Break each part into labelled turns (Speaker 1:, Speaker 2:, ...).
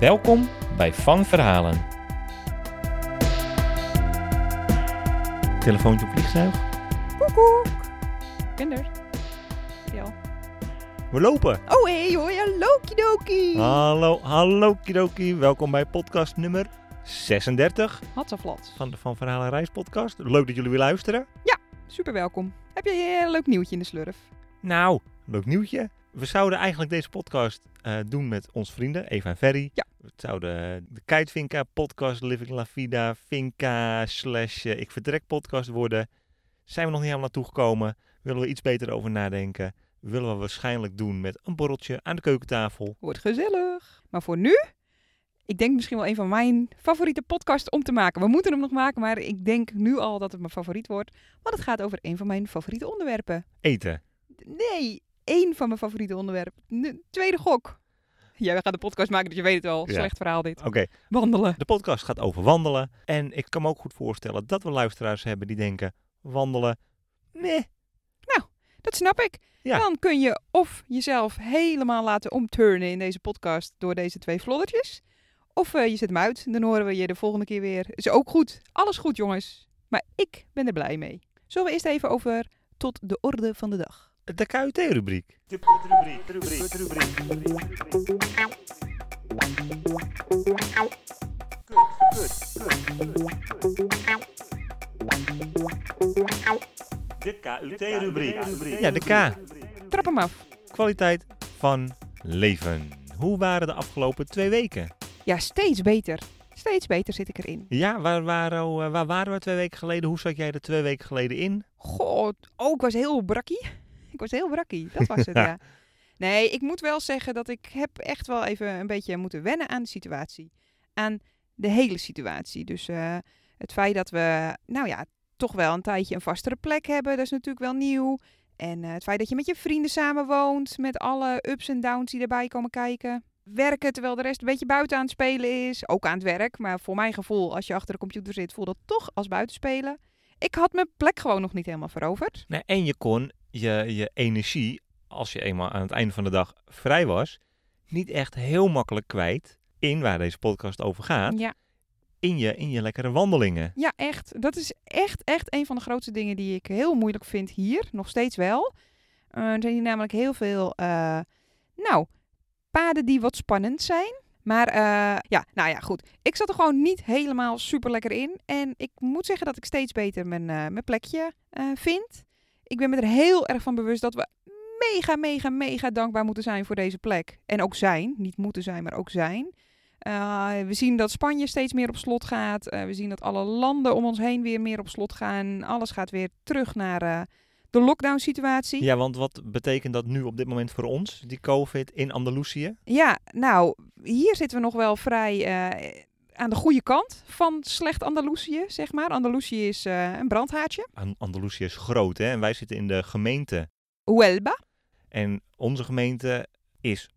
Speaker 1: Welkom bij Van Verhalen. Telefoontje op vliegtuig.
Speaker 2: Koekoek.
Speaker 3: Ik ben er.
Speaker 1: We lopen.
Speaker 2: Oh, hey hoi, hallo kidoki.
Speaker 1: Hallo, hallo Kidoki. Welkom bij podcast nummer 36
Speaker 3: Hatsaflats.
Speaker 1: van de Van Verhalen Reis podcast. Leuk dat jullie weer luisteren.
Speaker 2: Super welkom. Heb jij een leuk nieuwtje in de slurf?
Speaker 1: Nou, leuk nieuwtje. We zouden eigenlijk deze podcast eh, doen met onze vrienden, Eva en Ferry.
Speaker 2: Ja.
Speaker 1: We zouden eh, de Kijtvinka podcast, Living La Vida, Vinka slash eh, Ik Vertrek podcast worden. Zijn we nog niet helemaal naartoe gekomen. Willen we iets beter over nadenken. Willen we waarschijnlijk doen met een borreltje aan de keukentafel.
Speaker 2: Wordt gezellig. Maar voor nu, ik denk misschien wel een van mijn favoriete podcasts om te maken. We moeten hem nog maken, maar ik denk nu al dat het mijn favoriet wordt. Want het gaat over een van mijn favoriete onderwerpen.
Speaker 1: Eten.
Speaker 2: Nee, één van mijn favoriete onderwerpen. N- tweede gok. Jij gaat een podcast maken, dus je weet het al.
Speaker 1: Ja.
Speaker 2: Slecht verhaal dit.
Speaker 1: Oké,
Speaker 2: Wandelen.
Speaker 1: de podcast gaat over wandelen. En ik kan me ook goed voorstellen dat we luisteraars hebben die denken, wandelen, meh.
Speaker 2: Dat snap ik.
Speaker 1: Ja.
Speaker 2: Dan kun je of jezelf helemaal laten omturnen in deze podcast door deze twee floddertjes. Of eh, je zet hem uit, dan horen we je de volgende keer weer. Is ook goed. Alles goed, jongens. Maar ik ben er blij mee. Zullen we eerst even over tot de orde van de dag.
Speaker 1: De KUT-rubriek.
Speaker 4: De KUT-rubriek.
Speaker 1: Ja, de K.
Speaker 2: Trap hem af.
Speaker 1: Kwaliteit van leven. Hoe waren de afgelopen twee weken?
Speaker 2: Ja, steeds beter. Steeds beter zit ik erin.
Speaker 1: Ja, waar waren, we- waar waren we twee weken geleden? Hoe zat jij er twee weken geleden in?
Speaker 2: God, oh, ik was heel brakkie. Ik was heel brakkie, dat was het, ja. Nee, ik moet wel zeggen dat ik heb echt wel even een beetje moeten wennen aan de situatie. Aan de hele situatie. Dus eh, het feit dat we, nou ja, toch wel een tijdje een vastere plek hebben, dat is natuurlijk wel nieuw. En eh, het feit dat je met je vrienden samen woont, met alle ups en downs die erbij komen kijken. Werken terwijl de rest een beetje buiten aan het spelen is. Ook aan het werk, maar voor mijn gevoel, als je achter de computer zit, voelt dat toch als buitenspelen. Ik had mijn plek gewoon nog niet helemaal veroverd.
Speaker 1: Nou, en je kon je, je energie, als je eenmaal aan het einde van de dag vrij was, niet echt heel makkelijk kwijt in waar deze podcast over gaat.
Speaker 2: Ja,
Speaker 1: In je, in je lekkere wandelingen.
Speaker 2: ja, echt. Dat is echt, echt een van de grootste dingen die ik heel moeilijk vind hier. Nog steeds wel. Eh, er zijn hier namelijk heel veel, eh, nou, paden die wat spannend zijn. Maar eh, ja, nou ja, goed. Ik zat er gewoon niet helemaal super lekker in. En ik moet zeggen dat ik steeds beter mijn, eh, mijn plekje eh, vind. Ik ben me er heel erg van bewust dat we mega, mega, mega dankbaar moeten zijn voor deze plek. En ook zijn. Niet moeten zijn, maar ook zijn. Eh, we zien dat Spanje steeds meer op slot gaat. Eh, we zien dat alle landen om ons heen weer meer op slot gaan. Alles gaat weer terug naar eh, de lockdown situatie.
Speaker 1: Ja, want wat betekent dat nu op dit moment voor ons, die COVID in Andalusië?
Speaker 2: Ja, nou, hier zitten we nog wel vrij eh, aan de goede kant van slecht Andalusië, zeg maar. Andalusië is eh, een brandhaartje.
Speaker 1: An- Andalusië is groot, hè? En wij zitten in de gemeente
Speaker 2: Huelva.
Speaker 1: En onze gemeente is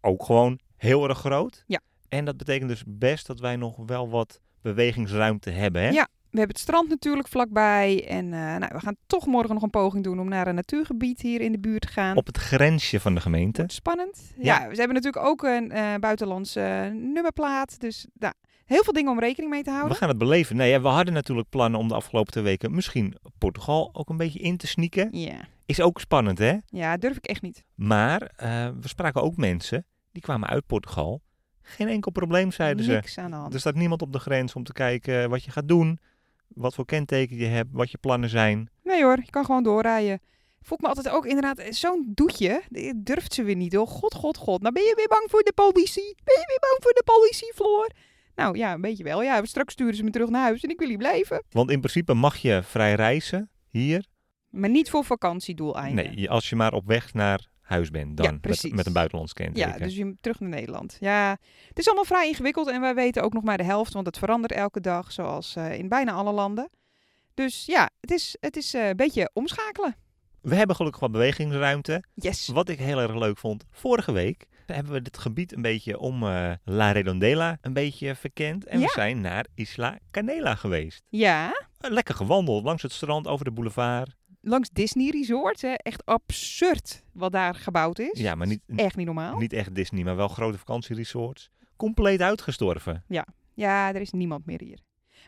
Speaker 1: ook gewoon heel erg groot.
Speaker 2: Ja.
Speaker 1: En dat betekent dus best dat wij nog wel wat bewegingsruimte hebben. Hè?
Speaker 2: Ja. We hebben het strand natuurlijk vlakbij. En eh, nou, we gaan toch morgen nog een poging doen om naar een natuurgebied hier in de buurt te gaan.
Speaker 1: Op het grensje van de gemeente.
Speaker 2: Wordt Spannend.
Speaker 1: Ja.
Speaker 2: Ja. ze hebben natuurlijk ook een eh buitenlandse eh, nummerplaat. Dus nou, heel veel dingen om rekening mee te
Speaker 1: We
Speaker 2: houden.
Speaker 1: gaan het beleven. Nee, ja, we hadden natuurlijk plannen om de afgelopen twee weken misschien Portugal ook een beetje in te sneaken.
Speaker 2: Ja.
Speaker 1: Is ook spannend, hè?
Speaker 2: ja, durf ik echt niet.
Speaker 1: Maar eh, we spraken ook mensen die kwamen uit Portugal. Geen enkel probleem, zeiden ze.
Speaker 2: Niks aan de hand.
Speaker 1: Er staat niemand op de grens om te kijken wat je gaat doen, wat voor kenteken je hebt, wat je plannen zijn.
Speaker 2: Nee hoor, je kan gewoon doorrijden. Voel ik me altijd ook inderdaad eh, zo'n doetje. eh, Durft ze weer niet hoor. God, god, god. Nou ben je weer bang voor de politie? Ben je weer bang voor de politie, Floor? Nou ja, een beetje wel. Ja, straks sturen ze me terug naar huis en ik wil hier blijven.
Speaker 1: Want in principe mag je vrij reizen hier.
Speaker 2: Maar niet voor vakantiedoeleinden.
Speaker 1: Nee, je- als je maar op weg naar huis bent dan.
Speaker 2: Ah, Ja,
Speaker 1: met,
Speaker 2: precies.
Speaker 1: met een buitenlands kenteken.
Speaker 2: Ja, dus je moet terug naar Nederland. Ja, het is allemaal vrij ingewikkeld en wij weten ook nog maar de helft, want het verandert elke dag, zoals eh, in bijna alle landen. Dus ja, het is, het is eh, een beetje omschakelen.
Speaker 1: We hebben gelukkig wat bewegingsruimte.
Speaker 2: Yes.
Speaker 1: Wat ik heel erg leuk vond, vorige week hebben we dit gebied een beetje om eh, La Redondela een beetje verkend. En
Speaker 2: Ja.
Speaker 1: we zijn naar Isla Canela geweest.
Speaker 2: Ja,
Speaker 1: Eh, Lekker gewandeld, langs het strand, over de boulevard.
Speaker 2: langs Disney Resort. Hè. Echt absurd wat daar gebouwd is.
Speaker 1: Ja, maar niet,
Speaker 2: Echt niet normaal.
Speaker 1: niet echt Disney, maar wel grote vakantieresorts. Compleet uitgestorven.
Speaker 2: Ja, er is niemand meer hier.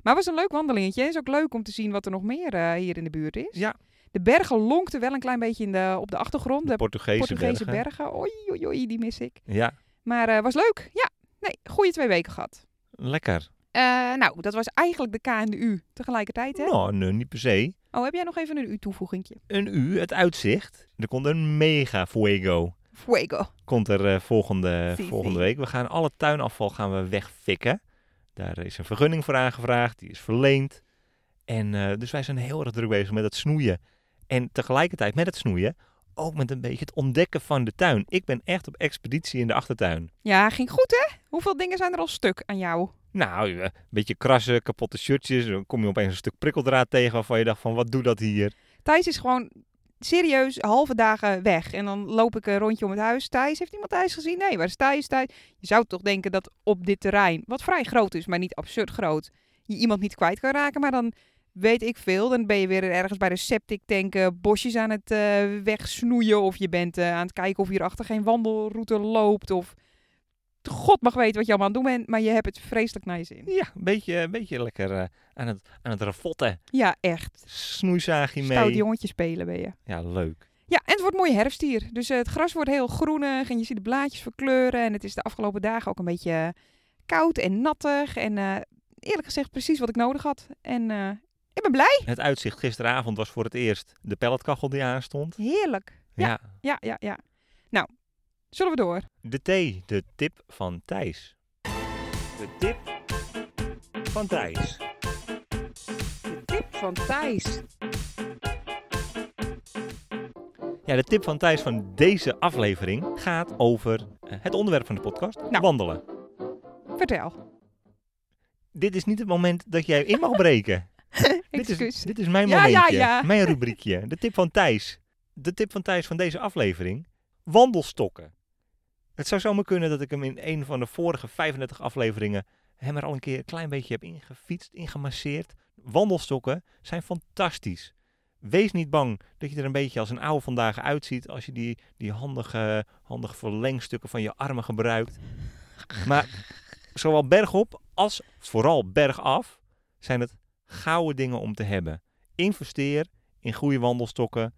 Speaker 2: Maar het was een leuk wandelingetje. Het is ook leuk om te zien wat er nog meer eh, hier in de buurt is.
Speaker 1: Ja.
Speaker 2: De bergen lonkten wel een klein beetje in de, op de achtergrond.
Speaker 1: De
Speaker 2: De,
Speaker 1: Portugese,
Speaker 2: Portugese
Speaker 1: bergen.
Speaker 2: bergen. Oei, oei, oei, die mis ik.
Speaker 1: Ja,
Speaker 2: Maar eh was leuk. Ja, nee, goede twee weken gehad.
Speaker 1: lekker.
Speaker 2: Eh, nou, dat was eigenlijk de K en de U tegelijkertijd, hè?
Speaker 1: Nou, nee, niet per se.
Speaker 2: Oh, heb jij nog even een U-toevoegingje?
Speaker 1: Een U, het uitzicht. Er komt een mega fuego.
Speaker 2: Fuego.
Speaker 1: Komt er eh, volgende,
Speaker 2: Si,
Speaker 1: volgende
Speaker 2: si.
Speaker 1: week. We gaan alle tuinafval gaan we wegfikken. Daar is een vergunning voor aangevraagd. Die is verleend. En eh, dus wij zijn heel erg druk bezig met het snoeien. En tegelijkertijd met het snoeien ook met een beetje het ontdekken van de tuin. Ik ben echt op expeditie in de achtertuin.
Speaker 2: Ja, ging goed, hè? Hoeveel dingen zijn er al stuk aan jou?
Speaker 1: Nou, eh, een beetje krassen, kapotte shirtjes. Dan kom je opeens een stuk prikkeldraad tegen waarvan je dacht van wat doe dat hier?
Speaker 2: Thijs is gewoon serieus halve dagen weg. En dan loop ik een rondje om het huis. Thijs, heeft iemand Thijs gezien? Nee, waar is Thijs? Thijs? Je zou toch denken dat op dit terrein, wat vrij groot is, maar niet absurd groot, je iemand niet kwijt kan raken. Maar dan weet ik veel. Dan ben je weer ergens bij de septic tank eh, bosjes aan het eh, wegsnoeien. Of je bent eh, aan het kijken of hierachter geen wandelroute loopt. Of god mag weten wat je allemaal aan het doen bent, maar je hebt het vreselijk naar je zin.
Speaker 1: Ja, een beetje, een beetje lekker eh, aan, het, aan het ravotten.
Speaker 2: Ja, echt.
Speaker 1: Snoeizaagje
Speaker 2: Stout
Speaker 1: mee.
Speaker 2: jongetje spelen ben je.
Speaker 1: Ja, leuk.
Speaker 2: Ja, en het wordt mooi herfst hier. Dus eh, het gras wordt heel groenig en je ziet de blaadjes verkleuren. En het is de afgelopen dagen ook een beetje eh, koud en nattig. En eh, eerlijk gezegd precies wat ik nodig had. En eh, ik ben blij.
Speaker 1: Het uitzicht gisteravond was voor het eerst de pelletkachel die aanstond.
Speaker 2: Heerlijk.
Speaker 1: Ja.
Speaker 2: Ja. Ja, ja, ja. Nou, zullen we door?
Speaker 1: De thee, de tip van Thijs.
Speaker 4: De tip van Thijs.
Speaker 2: De tip van Thijs.
Speaker 1: Ja, de tip van Thijs van deze aflevering gaat over eh, het onderwerp van de podcast, wandelen.
Speaker 2: Vertel.
Speaker 1: Dit is niet het moment dat jij in mag breken. dit, is,
Speaker 2: Excuus.
Speaker 1: dit is mijn
Speaker 2: Ja, ja,
Speaker 1: momentje,
Speaker 2: ja.
Speaker 1: mijn rubriekje. De tip van Thijs. De tip van Thijs van deze aflevering, wandelstokken. Het zou zomaar kunnen dat ik hem in een van de vorige 35 afleveringen hem er al een keer een klein beetje heb ingefietst, ingemasseerd. Wandelstokken zijn fantastisch. Wees niet bang dat je er een beetje als een oude vandaag uitziet als je die, die handige, handige verlengstukken van je armen gebruikt. Maar zowel bergop als vooral bergaf zijn het gouden dingen om te hebben. Investeer in goede wandelstokken.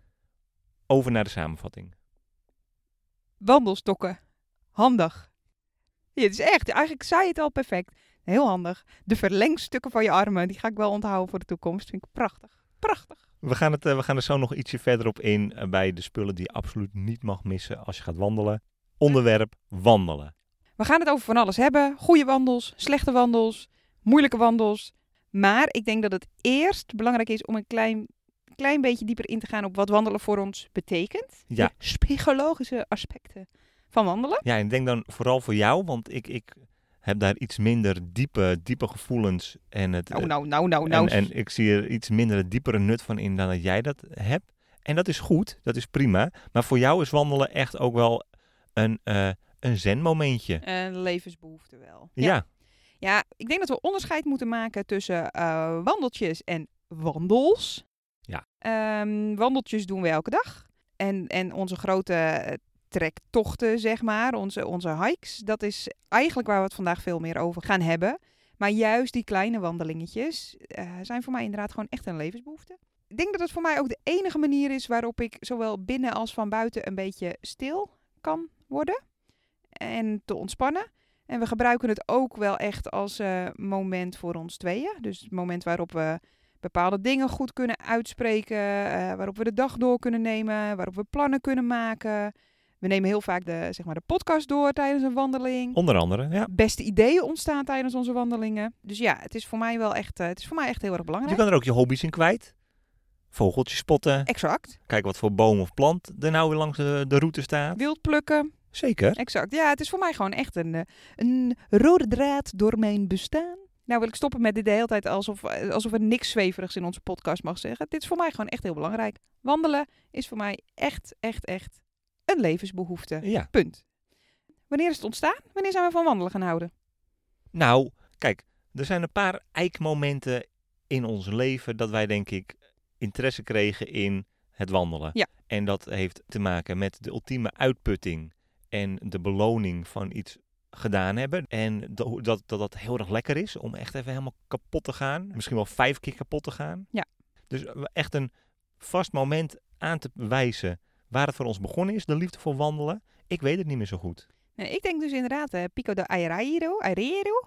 Speaker 1: Over naar de samenvatting.
Speaker 2: Wandelstokken. Handig. Ja, het is echt. Eigenlijk zei je het al perfect. Heel handig. De verlengstukken van je armen, die ga ik wel onthouden voor de toekomst. Vind ik prachtig. Prachtig.
Speaker 1: We gaan, het, eh, we gaan er zo nog ietsje verder op in eh, bij de spullen die je absoluut niet mag missen als je gaat wandelen. Onderwerp wandelen.
Speaker 2: We gaan het over van alles hebben. Goede wandels, slechte wandels, moeilijke wandels. Maar ik denk dat het eerst belangrijk is om een klein, klein beetje dieper in te gaan op wat wandelen voor ons betekent.
Speaker 1: Ja.
Speaker 2: De psychologische aspecten van wandelen.
Speaker 1: Ja, en ik denk dan vooral voor jou, want ik, ik heb daar iets minder diepe, diepe gevoelens. En het,
Speaker 2: Nou,
Speaker 1: eh,
Speaker 2: nou, nou, nou, nou.
Speaker 1: En, en ik zie er iets minder het diepere nut van in dan dat jij dat hebt. En dat is goed, dat is prima. Maar voor jou is wandelen echt ook wel een, eh een zen-momentje.
Speaker 2: Een levensbehoefte wel.
Speaker 1: Ja.
Speaker 2: Ja, ik denk dat we onderscheid moeten maken tussen eh, wandeltjes en wandels.
Speaker 1: Ja.
Speaker 2: Ehm, wandeltjes doen we elke dag. En, en onze grote eh, trektochten, zeg maar, onze, onze hikes, dat is eigenlijk waar we het vandaag veel meer over gaan hebben. Maar juist die kleine wandelingetjes eh, zijn voor mij inderdaad gewoon echt een levensbehoefte. Ik denk dat het voor mij ook de enige manier is waarop ik zowel binnen als van buiten een beetje stil kan worden. En te ontspannen. En we gebruiken het ook wel echt als eh, moment voor ons tweeën. Dus het moment waarop we bepaalde dingen goed kunnen uitspreken, eh, waarop we de dag door kunnen nemen, waarop we plannen kunnen maken. We nemen heel vaak de, zeg maar, de podcast door tijdens een wandeling.
Speaker 1: Onder andere, ja.
Speaker 2: Beste ideeën ontstaan tijdens onze wandelingen. Dus ja, het is voor mij wel echt, eh, het is voor mij echt heel erg
Speaker 1: Je
Speaker 2: belangrijk.
Speaker 1: kan er ook je hobby's in kwijt. Vogeltjes spotten.
Speaker 2: Exact.
Speaker 1: Kijken wat voor boom of plant er nou weer langs de, de route staat.
Speaker 2: Wild plukken.
Speaker 1: Zeker.
Speaker 2: Exact. Ja, het is voor mij gewoon echt een, eh, een rode draad door mijn bestaan. Nou wil ik stoppen met dit de hele tijd alsof, eh, alsof er niks zweverigs in onze podcast mag zeggen. Dit is voor mij gewoon echt heel belangrijk. Wandelen is voor mij echt, echt, echt een levensbehoefte.
Speaker 1: Ja.
Speaker 2: Punt. Wanneer is het ontstaan? Wanneer zijn we van wandelen gaan houden?
Speaker 1: Nou, kijk, er zijn een paar eikmomenten in ons leven dat wij denk ik interesse kregen in het wandelen.
Speaker 2: Ja.
Speaker 1: En dat heeft te maken met de ultieme uitputting en de beloning van iets gedaan hebben. En dat dat, dat dat heel erg lekker is om echt even helemaal kapot te gaan. Misschien wel vijf keer kapot te gaan.
Speaker 2: Ja.
Speaker 1: Dus echt een vast moment aan te wijzen waar het voor ons begonnen is, de liefde voor wandelen. Ik weet het niet meer zo goed.
Speaker 2: Nou, ik denk dus inderdaad eh, Pico de Airairo, Airero,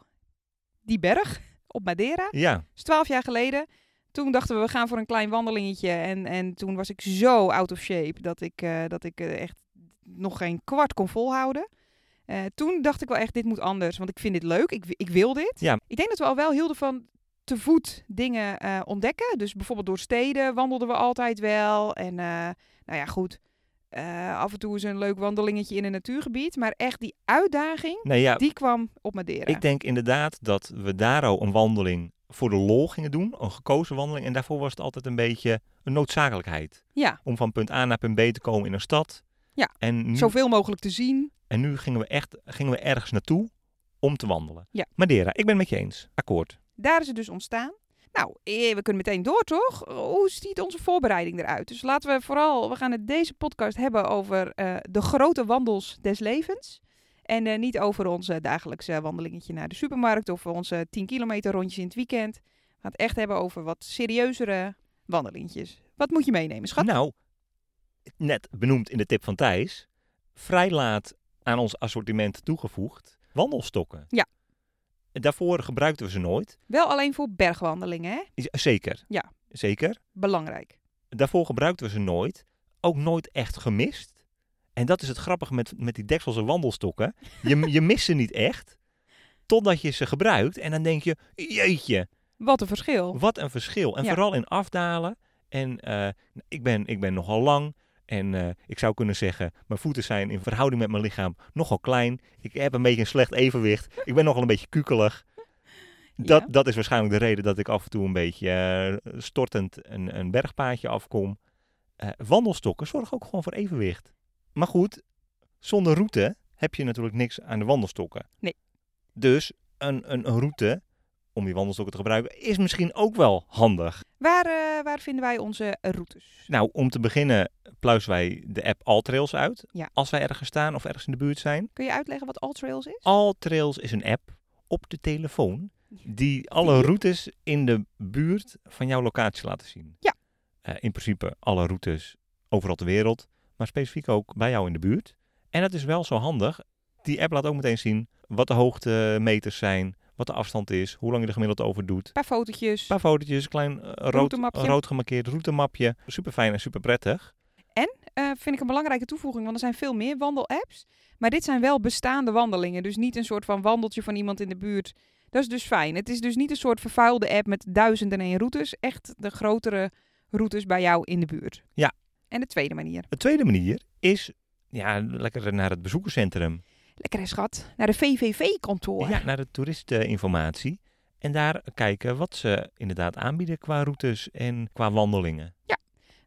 Speaker 2: die berg op Madeira.
Speaker 1: Ja,
Speaker 2: is twaalf jaar geleden. Toen dachten we, we gaan voor een klein wandelingetje. En, en toen was ik zo out of shape dat ik, eh, dat ik eh, echt nog geen kwart kon volhouden. Eh, toen dacht ik wel echt, dit moet anders, want ik vind dit leuk. Ik, wi- ik wil dit.
Speaker 1: Ja.
Speaker 2: Ik denk dat we al wel hielden van te voet dingen eh, ontdekken. Dus bijvoorbeeld door steden wandelden we altijd wel. En eh, nou ja, goed. eh, af en toe is een leuk wandelingetje in een natuurgebied. Maar echt die uitdaging,
Speaker 1: nou ja,
Speaker 2: die kwam op Madeira.
Speaker 1: Ik denk inderdaad dat we daar al een wandeling voor de lol gingen doen. Een gekozen wandeling. En daarvoor was het altijd een beetje een noodzakelijkheid.
Speaker 2: Ja.
Speaker 1: Om van punt A naar punt B te komen in een stad.
Speaker 2: Ja.
Speaker 1: En nu,
Speaker 2: Zoveel mogelijk te zien.
Speaker 1: en nu gingen we echt gingen we ergens naartoe om te wandelen.
Speaker 2: Ja.
Speaker 1: Madeira, ik ben het met je eens. Akkoord.
Speaker 2: Daar is het dus ontstaan. Nou, eh, we kunnen meteen door, toch? Hoe ziet onze voorbereiding eruit? Dus laten we vooral, we gaan het deze podcast hebben over eh, de grote wandels des levens. En eh, niet over onze dagelijkse wandelingetje naar de supermarkt of onze 10 kilometer rondjes in het weekend. We gaan het echt hebben over wat serieuzere wandelingetjes. Wat moet je meenemen, schat?
Speaker 1: Nou, net benoemd in de tip van Thijs. Vrij laat aan ons assortiment toegevoegd. Wandelstokken.
Speaker 2: Ja.
Speaker 1: Daarvoor gebruikten we ze nooit.
Speaker 2: Wel alleen voor bergwandelingen, hè?
Speaker 1: Z- Zeker.
Speaker 2: Ja.
Speaker 1: Zeker.
Speaker 2: Belangrijk.
Speaker 1: Daarvoor gebruikten we ze nooit. Ook nooit echt gemist. En dat is het grappige met, met die dekselse wandelstokken. Je, je mist ze niet echt. Totdat je ze gebruikt. En dan denk je, jeetje,
Speaker 2: Wat een verschil.
Speaker 1: wat een verschil. En
Speaker 2: Ja.
Speaker 1: vooral in afdalen. En eh, ik, ben, ik ben nogal lang. En eh, ik zou kunnen zeggen, mijn voeten zijn in verhouding met mijn lichaam nogal klein. Ik heb een beetje een slecht evenwicht. Ik ben nogal een beetje kukelig. Dat,
Speaker 2: Ja.
Speaker 1: dat is waarschijnlijk de reden dat ik af en toe een beetje eh, stortend een, een bergpaadje afkom. Eh, wandelstokken zorgen ook gewoon voor evenwicht. Maar goed, zonder route heb je natuurlijk niks aan de wandelstokken.
Speaker 2: Nee.
Speaker 1: Dus een, een, een route om die wandelstokken te gebruiken is misschien ook wel handig.
Speaker 2: Waar, eh, waar vinden wij onze routes?
Speaker 1: Nou, om te beginnen pluizen wij de app Altrails uit.
Speaker 2: Ja.
Speaker 1: Als wij ergens staan of ergens in de buurt zijn.
Speaker 2: Kun je uitleggen wat Alltrails is?
Speaker 1: Altrails is een app op de telefoon die alle routes in de buurt van jouw locatie laten zien.
Speaker 2: Ja.
Speaker 1: Eh, in principe alle routes overal ter wereld, maar specifiek ook bij jou in de buurt. En dat is wel zo handig. Die app laat ook meteen zien wat de hoogtemeters zijn, wat de afstand is, hoe lang je er gemiddeld over doet.
Speaker 2: Een paar fotootjes.
Speaker 1: Een paar fotootjes, een klein eh, rood,
Speaker 2: Routemapje.
Speaker 1: rood gemarkeerd routemapje. Super fijn en super prettig.
Speaker 2: eh, vind ik een belangrijke toevoeging, want er zijn veel meer wandelapps. Maar dit zijn wel bestaande wandelingen, dus niet een soort van wandeltje van iemand in de buurt. Dat is dus fijn. Het is dus niet een soort vervuilde app met duizenden en één routes. Echt de grotere routes bij jou in de buurt.
Speaker 1: Ja.
Speaker 2: En de tweede manier.
Speaker 1: De tweede manier is ja, lekker naar het bezoekerscentrum.
Speaker 2: Lekker hè, schat. Naar de VVV-kantoor.
Speaker 1: Ja, naar de toeristeninformatie. En daar kijken wat ze inderdaad aanbieden qua routes en qua wandelingen.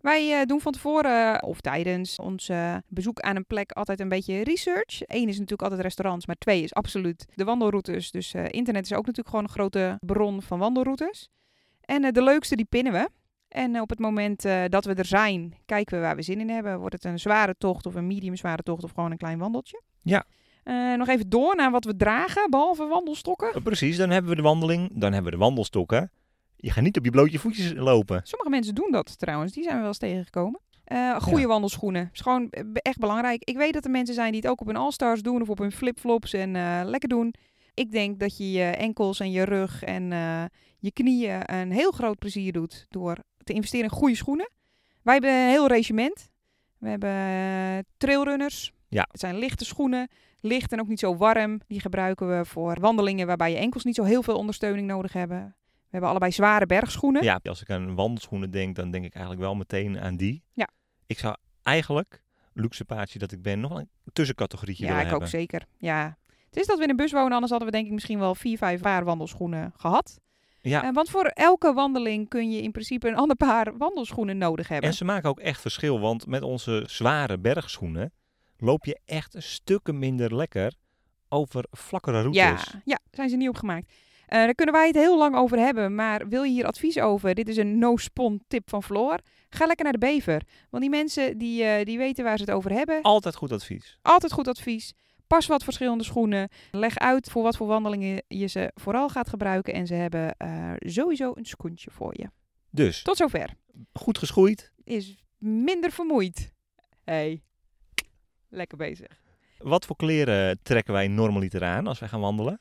Speaker 2: Wij eh, doen van tevoren eh, of tijdens ons eh, bezoek aan een plek altijd een beetje research. Eén is natuurlijk altijd restaurants, maar twee is absoluut de wandelroutes. Dus eh, internet is ook natuurlijk gewoon een grote bron van wandelroutes. En eh, de leukste die pinnen we. En eh, op het moment eh, dat we er zijn, kijken we waar we zin in hebben. Wordt het een zware tocht of een medium zware tocht of gewoon een klein wandeltje?
Speaker 1: Ja.
Speaker 2: Eh, nog even door naar wat we dragen, behalve wandelstokken.
Speaker 1: Eh, Precies, dan hebben we de wandeling, dan hebben we de wandelstokken. Je gaat niet op je blootje voetjes lopen.
Speaker 2: Sommige mensen doen dat trouwens, die zijn we wel eens tegengekomen. Eh goede
Speaker 1: Ja.
Speaker 2: wandelschoenen. Is gewoon eh, be- echt belangrijk. Ik weet dat er mensen zijn die het ook op hun All-Stars doen of op hun flipflops en eh, lekker doen. Ik denk dat je je enkels en je rug en eh, je knieën een heel groot plezier doet door te investeren in goede schoenen. Wij hebben een heel regiment. We hebben eh, trailrunners.
Speaker 1: Ja.
Speaker 2: Het zijn lichte schoenen, licht en ook niet zo warm. Die gebruiken we voor wandelingen waarbij je enkels niet zo heel veel ondersteuning nodig hebben. We hebben allebei zware bergschoenen.
Speaker 1: Ja, als ik aan wandelschoenen denk, dan denk ik eigenlijk wel meteen aan die.
Speaker 2: Ja.
Speaker 1: Ik zou eigenlijk, luxe paardje dat ik ben, nog wel een tussencategorietje
Speaker 2: Ja, ik
Speaker 1: willen
Speaker 2: ook
Speaker 1: hebben.
Speaker 2: zeker. Ja. Het is dat we in een bus wonen, anders hadden we denk ik misschien wel vier, vijf paar wandelschoenen gehad.
Speaker 1: Ja.
Speaker 2: Eh, want voor elke wandeling kun je in principe een ander paar wandelschoenen nodig hebben.
Speaker 1: En ze maken ook echt verschil, want met onze zware bergschoenen loop je echt stukken minder lekker over vlakkere
Speaker 2: ja,
Speaker 1: routes.
Speaker 2: ja, zijn ze niet opgemaakt. Eh daar kunnen wij het heel lang over hebben, maar wil je hier advies over? Dit is een no-spon tip van Floor. Ga lekker naar de bever, want die mensen die, eh, die weten waar ze het over hebben.
Speaker 1: Altijd goed advies.
Speaker 2: Altijd goed advies. Pas wat verschillende schoenen. Leg uit voor wat voor wandelingen je ze vooral gaat gebruiken. En ze hebben eh, sowieso een schoentje voor je.
Speaker 1: Dus,
Speaker 2: Tot zover.
Speaker 1: goed geschoeid.
Speaker 2: Is minder vermoeid. hey. lekker bezig.
Speaker 1: Wat voor kleren trekken wij normaliter aan als wij gaan wandelen?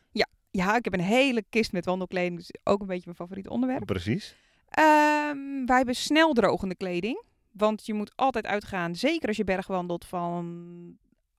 Speaker 2: Ja, ik heb een hele kist met wandelkleding. Dus ook een beetje mijn favoriet onderwerp.
Speaker 1: Precies.
Speaker 2: Ehm, wij hebben snel drogende kleding. Want je moet altijd uitgaan, zeker als je berg wandelt, van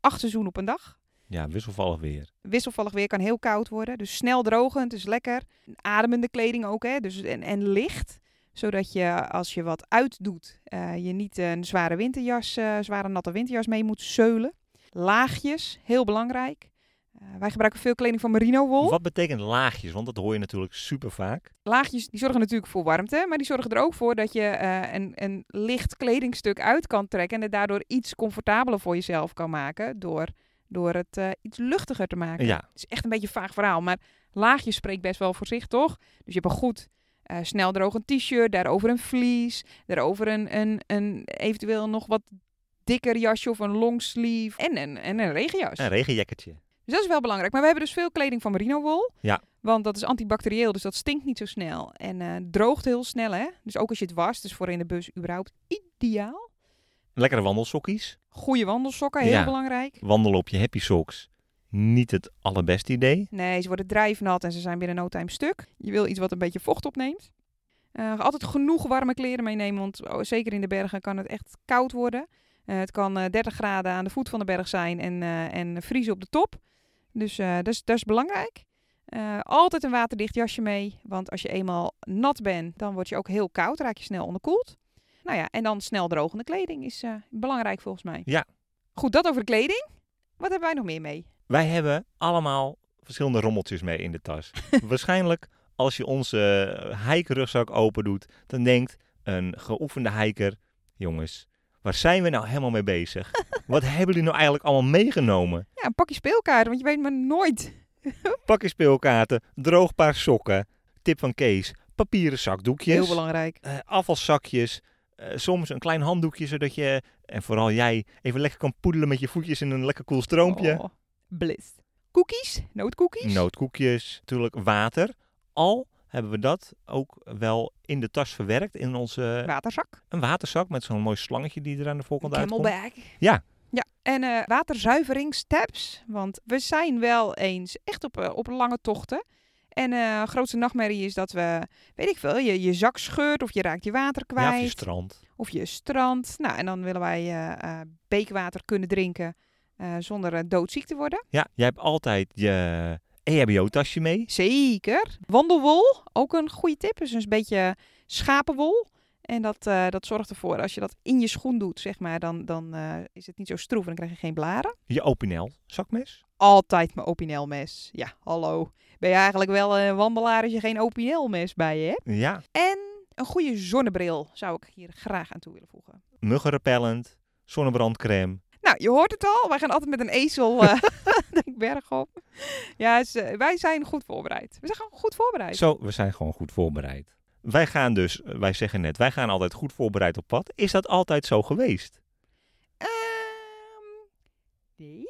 Speaker 2: acht seizoenen op een dag.
Speaker 1: Ja, wisselvallig weer.
Speaker 2: Wisselvallig weer kan heel koud worden. Dus snel drogend is lekker. Ademende kleding ook, hè? Dus en, en licht. Zodat je als je wat uitdoet, eh, je niet een zware winterjas, eh, zware natte winterjas mee moet zeulen. Laagjes, heel belangrijk. Eh, wij gebruiken veel kleding van merino wol.
Speaker 1: Wat betekent laagjes? Want dat hoor je natuurlijk super vaak.
Speaker 2: laagjes die zorgen natuurlijk voor warmte, maar die zorgen er ook voor dat je eh, een, een licht kledingstuk uit kan trekken en het daardoor iets comfortabeler voor jezelf kan maken door, door het eh, iets luchtiger te maken.
Speaker 1: Ja,
Speaker 2: Het is echt een beetje een vaag verhaal, maar laagjes spreekt best wel voor zich, toch? Dus je hebt een goed eh, snel drogend t-shirt, daarover een vlies, daarover een, een, een eventueel nog wat dikker jasje of een longsleeve en een, en een regenjas.
Speaker 1: een regenjekkertje.
Speaker 2: Dus dat is wel belangrijk. Maar we hebben dus veel kleding van merino wol.
Speaker 1: Ja.
Speaker 2: Want dat is antibacterieel, dus dat stinkt niet zo snel. En eh, droogt heel snel, hè. Dus ook als je het wast, dus voor in de bus überhaupt ideaal.
Speaker 1: Lekkere wandelsokkies.
Speaker 2: Goede wandelsokken, heel
Speaker 1: Ja.
Speaker 2: belangrijk.
Speaker 1: Wandelen op je happy socks. Niet het allerbeste idee.
Speaker 2: Nee, ze worden drijfnat en ze zijn binnen no time stuk. Je wil iets wat een beetje vocht opneemt. Eh, altijd genoeg warme kleren meenemen, want oh, zeker in de bergen kan het echt koud worden. Eh, het kan eh, 30 graden aan de voet van de berg zijn en, eh en vriezen op de top. Dus eh, dat, is, dat is belangrijk. Eh, altijd een waterdicht jasje mee, want als je eenmaal nat bent, dan word je ook heel koud, raak je snel onderkoeld. Nou ja, en dan snel drogende kleding is eh, belangrijk volgens mij.
Speaker 1: Ja.
Speaker 2: Goed, dat over de kleding. Wat hebben wij nog meer mee?
Speaker 1: Wij hebben allemaal verschillende rommeltjes mee in de tas. Waarschijnlijk als je onze eh, hikerugzak open doet, dan denkt een geoefende hiker... Jongens, waar zijn we nou helemaal mee bezig? Wat hebben jullie nou eigenlijk allemaal meegenomen?
Speaker 2: Ja, pak je speelkaarten, want je weet maar nooit.
Speaker 1: Pakje speelkaarten, droog paar sokken, tip van Kees, papieren zakdoekjes.
Speaker 2: Heel belangrijk.
Speaker 1: eh, afvalzakjes. eh, soms een klein handdoekje, zodat je, en vooral jij, even lekker kan poedelen met je voetjes in een lekker koel stroompje.
Speaker 2: Oh, bliss. Cookies, nootcookies.
Speaker 1: Nootkoekjes, natuurlijk water. Al hebben we dat ook wel in de tas verwerkt. In onze,
Speaker 2: Waterzak.
Speaker 1: een waterzak met zo'n mooi slangetje die er aan de voorkant uitkomt.
Speaker 2: Camelback.
Speaker 1: Ja.
Speaker 2: Ja, en eh waterzuiveringsteps. Want we zijn wel eens echt op, eh, op lange tochten. En eh grootste nachtmerrie is dat we, weet ik veel, je, je zak scheurt of je raakt je water kwijt.
Speaker 1: Ja, of je strand.
Speaker 2: of je strand. Nou, en dan willen wij eh, eh, beekwater kunnen drinken eh, zonder eh, doodziek te worden.
Speaker 1: Ja, jij hebt altijd je E EHBO-tasje mee.
Speaker 2: Zeker. Wandelwol, ook een goede tip. Is dus een beetje schapenwol. En dat, eh, dat zorgt ervoor, als je dat in je schoen doet, zeg maar, dan, dan eh, is het niet zo stroef en dan krijg je geen blaren.
Speaker 1: Je Opinel-zakmes.
Speaker 2: Altijd mijn opinelmes. Ja, hallo. Ben je eigenlijk wel een wandelaar als je geen opinelmes bij je hebt?
Speaker 1: Ja,
Speaker 2: En een goede zonnebril zou ik hier graag aan toe willen voegen.
Speaker 1: muggenrepellent, zonnebrandcrème.
Speaker 2: Nou, je hoort het al. Wij gaan altijd met een ezel eh de berg op. Ja, dus, eh, wij zijn goed voorbereid. We zijn gewoon goed voorbereid.
Speaker 1: Zo, we zijn gewoon goed voorbereid. Wij gaan dus, eh, wij zeggen net, wij gaan altijd goed voorbereid op pad. Is dat altijd zo geweest?
Speaker 2: Ehm, nee.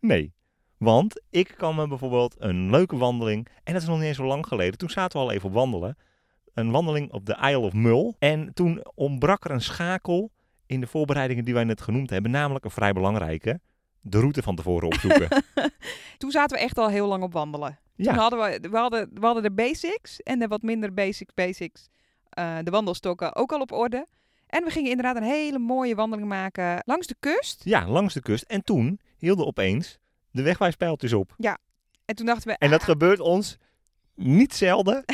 Speaker 1: Nee. Want ik kan me bijvoorbeeld een leuke wandeling, en dat is nog niet eens zo lang geleden, toen zaten we al even op wandelen. Een wandeling op de Isle of Mull. En toen ontbrak er een schakel in de voorbereidingen die wij net genoemd hebben, namelijk een vrij belangrijke. De route van tevoren opzoeken.
Speaker 2: Toen zaten we echt al heel lang op wandelen. Toen
Speaker 1: ja,
Speaker 2: hadden we, we, hadden, we hadden de basics en de wat minder basic basics, eh, de wandelstokken, ook al op orde. En we gingen inderdaad een hele mooie wandeling maken langs de kust.
Speaker 1: ja, langs de kust. En toen hielden opeens de wegwijspijltjes op.
Speaker 2: En toen dachten we,
Speaker 1: En dat
Speaker 2: ah,
Speaker 1: gebeurt ons niet zelden.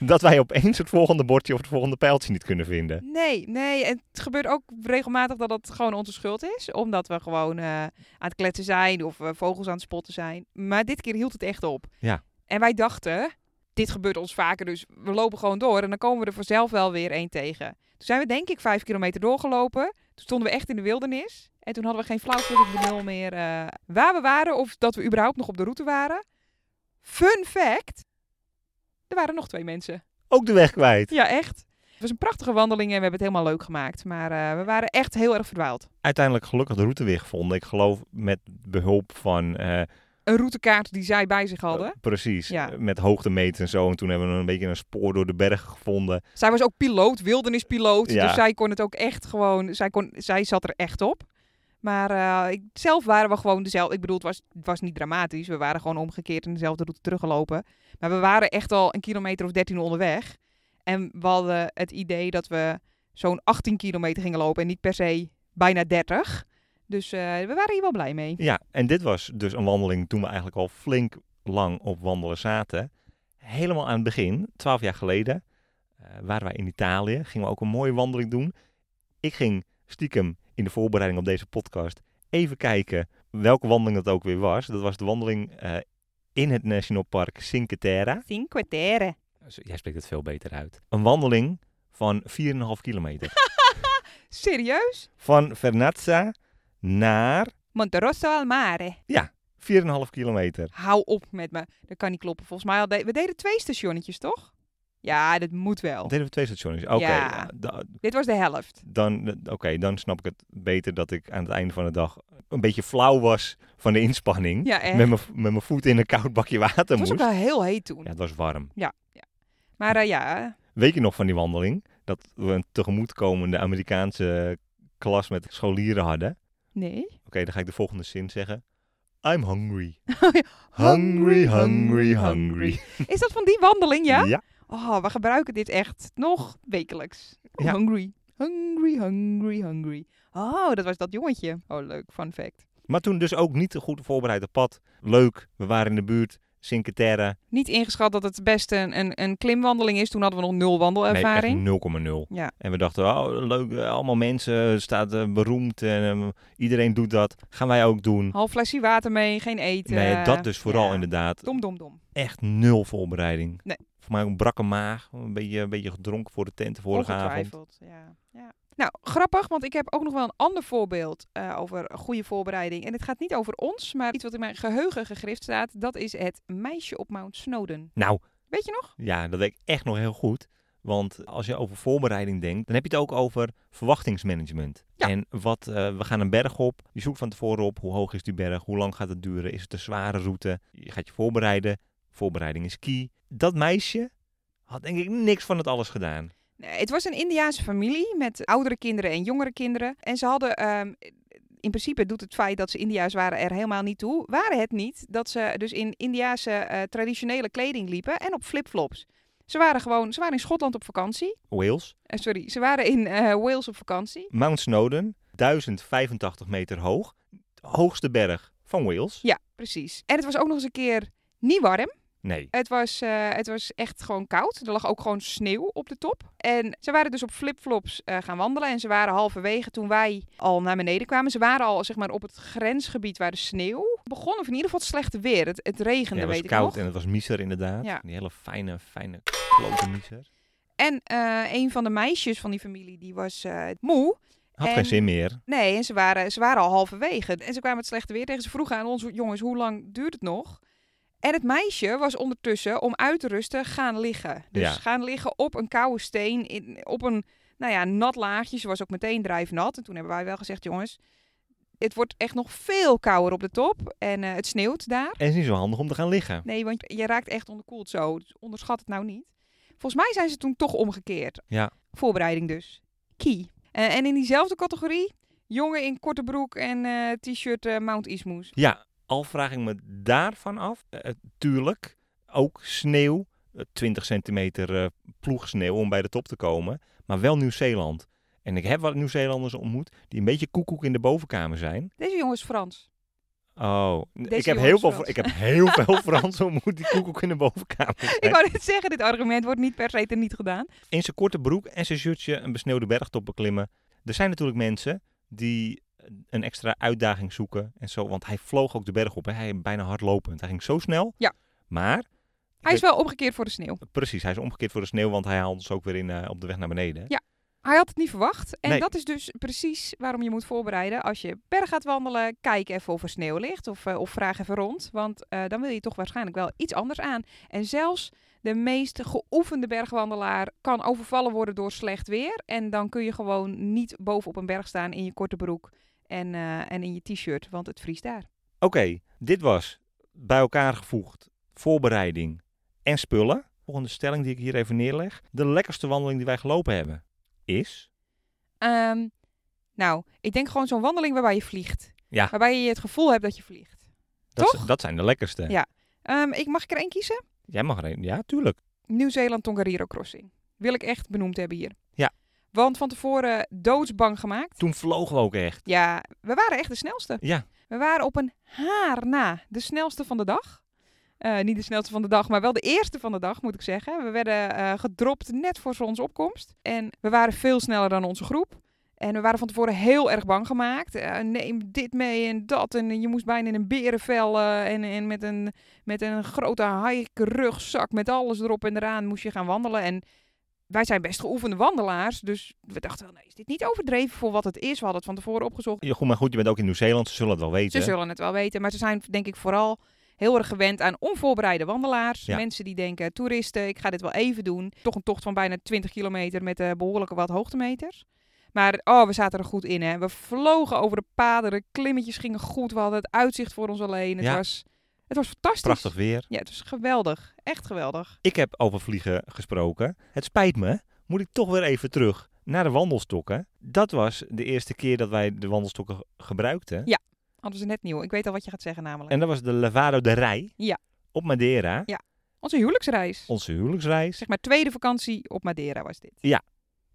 Speaker 1: dat wij opeens het volgende bordje of het volgende pijltje niet kunnen vinden.
Speaker 2: Nee, nee. en Het gebeurt ook regelmatig dat dat gewoon onze schuld is. Omdat we gewoon eh, aan het kletsen zijn of eh, vogels aan het spotten zijn. Maar dit keer hield het echt op.
Speaker 1: Ja.
Speaker 2: En wij dachten, dit gebeurt ons vaker, dus we lopen gewoon door. En dan komen we er vanzelf wel weer één tegen. Toen zijn we denk ik vijf kilometer doorgelopen. Toen stonden we echt in de wildernis. En toen hadden we geen flauw flink benul meer eh, waar we waren. Of dat we überhaupt nog op de route waren. Fun fact. Er waren nog twee mensen.
Speaker 1: Ook de weg kwijt.
Speaker 2: Ja, echt. Het was een prachtige wandeling en we hebben het helemaal leuk gemaakt. Maar eh, we waren echt heel erg verdwaald.
Speaker 1: Uiteindelijk gelukkig de route weer gevonden. Ik geloof met behulp van... eh,
Speaker 2: Een routekaart die zij bij zich hadden.
Speaker 1: precies,
Speaker 2: Ja.
Speaker 1: met hoogtemeters en zo. En toen hebben we een beetje een spoor door de bergen gevonden.
Speaker 2: Zij was ook piloot, wildernispiloot.
Speaker 1: Ja.
Speaker 2: Dus zij kon het ook echt gewoon... Zij, kon, zij zat er echt op. Maar eh, ik, zelf waren we gewoon dezelfde... Ik bedoel, het was, het was niet dramatisch. We waren gewoon omgekeerd en dezelfde route teruggelopen. Maar we waren echt al een kilometer of dertien onderweg. En we hadden het idee dat we zo'n 18 kilometer gingen lopen. En niet per se bijna 30. Dus eh, we waren hier wel blij mee.
Speaker 1: Ja, en dit was dus een wandeling toen we eigenlijk al flink lang op wandelen zaten. Helemaal aan het begin, twaalf jaar geleden, eh, waren wij in Italië. Gingen we ook een mooie wandeling doen. Ik ging stiekem in de voorbereiding op deze podcast even kijken welke wandeling dat ook weer was. Dat was de wandeling eh, in het National Park Cinque Terre.
Speaker 2: Cinque Terre.
Speaker 1: Zo, Jij spreekt het veel beter uit. Een wandeling van 4,5 kilometer.
Speaker 2: Serieus?
Speaker 1: van Vernazza naar
Speaker 2: Monterosso al mare.
Speaker 1: 4,5 kilometer.
Speaker 2: Hou op met me. Dat kan niet kloppen. Volgens mij al de- we deden twee stationnetjes, toch? Ja, dat moet wel.
Speaker 1: Deden we twee stations? Oké,
Speaker 2: Oh. Ja.
Speaker 1: ja, da-
Speaker 2: Dit was de helft.
Speaker 1: dan, oké, dan snap ik het beter dat ik aan het einde van de dag een beetje flauw was van de inspanning.
Speaker 2: Ja, echt.
Speaker 1: Met mijn- met mijn voet in een koud bakje water
Speaker 2: het was ook
Speaker 1: moest.
Speaker 2: wel heel heet toen.
Speaker 1: Ja, het was warm.
Speaker 2: Maar eh, ja,
Speaker 1: Weet je nog van die wandeling? Dat we een tegemoetkomende Amerikaanse klas met scholieren hadden. Oké,
Speaker 2: nee.
Speaker 1: dan ga ik de volgende zin zeggen. I'm hungry.
Speaker 2: Oh ja.
Speaker 1: Hungry, hungry, hungry.
Speaker 2: Is dat van die wandeling, ja?
Speaker 1: Ja,
Speaker 2: Oh, we gebruiken dit echt nog wekelijks. Oh,
Speaker 1: Ja.
Speaker 2: Hungry, hungry, hungry, hungry. Oh, dat was dat jongetje. Oh, leuk. Fun fact.
Speaker 1: Maar toen dus ook niet goed voorbereid op pad. Leuk, we waren in de buurt. Cinque Terre.
Speaker 2: Niet ingeschat dat het best een, een, een klimwandeling is. Toen hadden we nog nul
Speaker 1: Nee, echt
Speaker 2: wandelervaring.
Speaker 1: 0,0.
Speaker 2: Ja.
Speaker 1: En we dachten, oh, leuk, eh, allemaal mensen, het staat eh, beroemd en eh, iedereen doet dat. Gaan wij ook doen.
Speaker 2: Half flesje water mee, geen eten.
Speaker 1: Nee, dat dus vooral
Speaker 2: eh, ja.
Speaker 1: inderdaad.
Speaker 2: Dom, dom, dom.
Speaker 1: Echt nul voorbereiding.
Speaker 2: Nee.
Speaker 1: Voor mij ook een brakke maag, een beetje, een beetje gedronken voor de tent de vorige avond.
Speaker 2: Ongetwijfeld, ja. ja. Nou, grappig, want ik heb ook nog wel een ander voorbeeld eh, over goede voorbereiding. En het gaat niet over ons, maar iets wat in mijn geheugen gegrift staat. Dat is het meisje op Mount Snowden.
Speaker 1: Nou,
Speaker 2: Weet je nog?
Speaker 1: ja, dat weet ik echt nog heel goed. Want als je over voorbereiding denkt, dan heb je het ook over verwachtingsmanagement.
Speaker 2: Ja.
Speaker 1: En wat, eh, we gaan een berg op. Je zoekt van tevoren op hoe hoog is die berg, hoe lang gaat het duren, is het een zware route. Je gaat je voorbereiden. Voorbereiding is key. Dat meisje had denk ik niks van het alles gedaan.
Speaker 2: Nee, Eh, het was een Indiaanse familie met oudere kinderen en jongere kinderen. En ze hadden, ehm, in principe doet het feit dat ze India's waren er helemaal niet toe. Waren het niet dat ze dus in Indiaanse eh, traditionele kleding liepen en op flipflops. Ze waren gewoon, ze waren in Schotland op vakantie.
Speaker 1: Wales,
Speaker 2: Eh, sorry, ze waren in eh, Wales op vakantie.
Speaker 1: Mount Snowdon, 1085 meter hoog. De hoogste berg van Wales.
Speaker 2: Ja, precies. En het was ook nog eens een keer niet warm.
Speaker 1: Nee,
Speaker 2: Het was, eh, het was echt gewoon koud. Er lag ook gewoon sneeuw op de top. En ze waren dus op flipflops eh gaan wandelen. En ze waren halverwege toen wij al naar beneden kwamen. Ze waren al zeg maar, op het grensgebied waar de sneeuw begon. Of in ieder geval het slechte weer. Het, het
Speaker 1: Ja,
Speaker 2: regende,
Speaker 1: het was
Speaker 2: weet ik
Speaker 1: koud
Speaker 2: nog.
Speaker 1: en het was miser inderdaad.
Speaker 2: Ja.
Speaker 1: Die hele fijne, fijne klote miser.
Speaker 2: En eh, een van de meisjes van die familie die was eh, moe.
Speaker 1: Had
Speaker 2: En-
Speaker 1: geen zin meer.
Speaker 2: Nee, en ze waren, ze waren al halverwege. En ze kwamen het slechte weer tegen. Ze vroegen aan ons, jongens, hoe lang duurt het nog? En het meisje was ondertussen om uit te rusten gaan liggen. Dus
Speaker 1: Ja.
Speaker 2: gaan liggen op een koude steen, in, op een nou ja, nat laagje. Ze was ook meteen drijfnat. En toen hebben wij wel gezegd, jongens, het wordt echt nog veel kouder op de top. En eh, het sneeuwt daar.
Speaker 1: En het is niet zo handig om te gaan liggen.
Speaker 2: Nee, want je raakt echt onderkoeld zo. Dus onderschat het nou niet. Volgens mij zijn ze toen toch omgekeerd.
Speaker 1: Ja.
Speaker 2: Voorbereiding dus. Key. Eh, en in diezelfde categorie, jongen in korte broek en eh, t-shirt eh, Mount Ismoes.
Speaker 1: Ja, al vraag ik me daarvan af. Eh, tuurlijk, ook sneeuw. eh, 20 centimeter eh, ploegsneeuw om bij de top te komen. Maar wel Nieuw-Zeeland. En ik heb wat Nieuw-Zeelanders ontmoet die een beetje koekoek in de bovenkamer zijn.
Speaker 2: Deze jongen is Frans.
Speaker 1: Oh, ik heb,
Speaker 2: Joris
Speaker 1: heel veel,
Speaker 2: Frans.
Speaker 1: ik heb heel veel Frans. Hoe moet die koekoek in de bovenkamer
Speaker 2: Ik
Speaker 1: zijn?
Speaker 2: wou net zeggen, dit argument wordt niet per se er niet gedaan.
Speaker 1: In zijn korte broek en zijn shirtje een besneeuwde bergtop beklimmen. Er zijn natuurlijk mensen die een extra uitdaging zoeken en zo. Want hij vloog ook de berg op. Hè. Hij bijna hardlopend. Hij ging zo snel.
Speaker 2: Ja.
Speaker 1: Maar,
Speaker 2: Hij is wel omgekeerd voor de sneeuw.
Speaker 1: precies, hij is omgekeerd voor de sneeuw, want hij haalt ons ook weer in, eh, op de weg naar beneden.
Speaker 2: Hij had het niet verwacht. En
Speaker 1: Nee.
Speaker 2: dat is dus precies waarom je moet voorbereiden. Als je berg gaat wandelen, kijk even of er sneeuw ligt. Of, eh, of vraag even rond. Want eh, dan wil je toch waarschijnlijk wel iets anders aan. En zelfs de meest geoefende bergwandelaar kan overvallen worden door slecht weer. En dan kun je gewoon niet bovenop een berg staan in je korte broek en, eh, en in je t-shirt. Want het vriest daar.
Speaker 1: Oké, dit was bij elkaar gevoegd voorbereiding en spullen. Volgende stelling die ik hier even neerleg. De lekkerste wandeling die wij gelopen hebben is...
Speaker 2: Ehm, nou, ik denk gewoon zo'n wandeling waarbij je vliegt.
Speaker 1: Ja.
Speaker 2: Waarbij je het gevoel hebt dat je vliegt.
Speaker 1: Dat,
Speaker 2: Toch?
Speaker 1: dat zijn de lekkerste.
Speaker 2: Ja. Ehm, ik mag ik er één kiezen?
Speaker 1: Jij mag er een. Ja, tuurlijk.
Speaker 2: Nieuw-Zeeland Tongariro Crossing. Wil ik echt benoemd hebben hier.
Speaker 1: Ja.
Speaker 2: Want van tevoren doodsbang gemaakt.
Speaker 1: Toen vlogen we ook echt.
Speaker 2: Ja, we waren echt de snelste.
Speaker 1: Ja.
Speaker 2: We waren op een haar na de snelste van de dag. Eh, niet de snelste van de dag, maar wel de eerste van de dag, moet ik zeggen. We werden eh, gedropt net voor zonsopkomst. En we waren veel sneller dan onze groep. En we waren van tevoren heel erg bang gemaakt. Eh, neem dit mee en dat. En je moest bijna in een berenvel eh, en, en met, een, met een grote hike rugzak met alles erop en eraan moest je gaan wandelen. En wij zijn best geoefende wandelaars. Dus we dachten wel, nee, is dit niet overdreven voor wat het is? We hadden het van tevoren opgezocht.
Speaker 1: Ja, goed, maar goed, je bent ook in Nieuw-Zeeland. Ze zullen het wel weten.
Speaker 2: Ze zullen het wel weten, maar ze zijn denk ik vooral heel erg gewend aan onvoorbereide wandelaars.
Speaker 1: Ja.
Speaker 2: Mensen die denken, toeristen, ik ga dit wel even doen. Toch een tocht van bijna 20 kilometer met eh behoorlijke wat hoogtemeters. Maar oh, we zaten er goed in. Hè. We vlogen over de paden, de klimmetjes gingen goed. We hadden het uitzicht voor ons alleen. Het,
Speaker 1: Ja.
Speaker 2: was, het was fantastisch.
Speaker 1: Prachtig weer.
Speaker 2: Ja, het was geweldig. Echt geweldig.
Speaker 1: Ik heb over vliegen gesproken. Het spijt me. Moet ik toch weer even terug naar de wandelstokken. Dat was de eerste keer dat wij de wandelstokken ge- gebruikten.
Speaker 2: Anders is net nieuw. Ik weet al wat je gaat zeggen namelijk.
Speaker 1: En dat was de Levado de Rij.
Speaker 2: Ja.
Speaker 1: Op Madeira.
Speaker 2: Onze huwelijksreis.
Speaker 1: Onze huwelijksreis.
Speaker 2: Zeg maar tweede vakantie op Madeira was dit.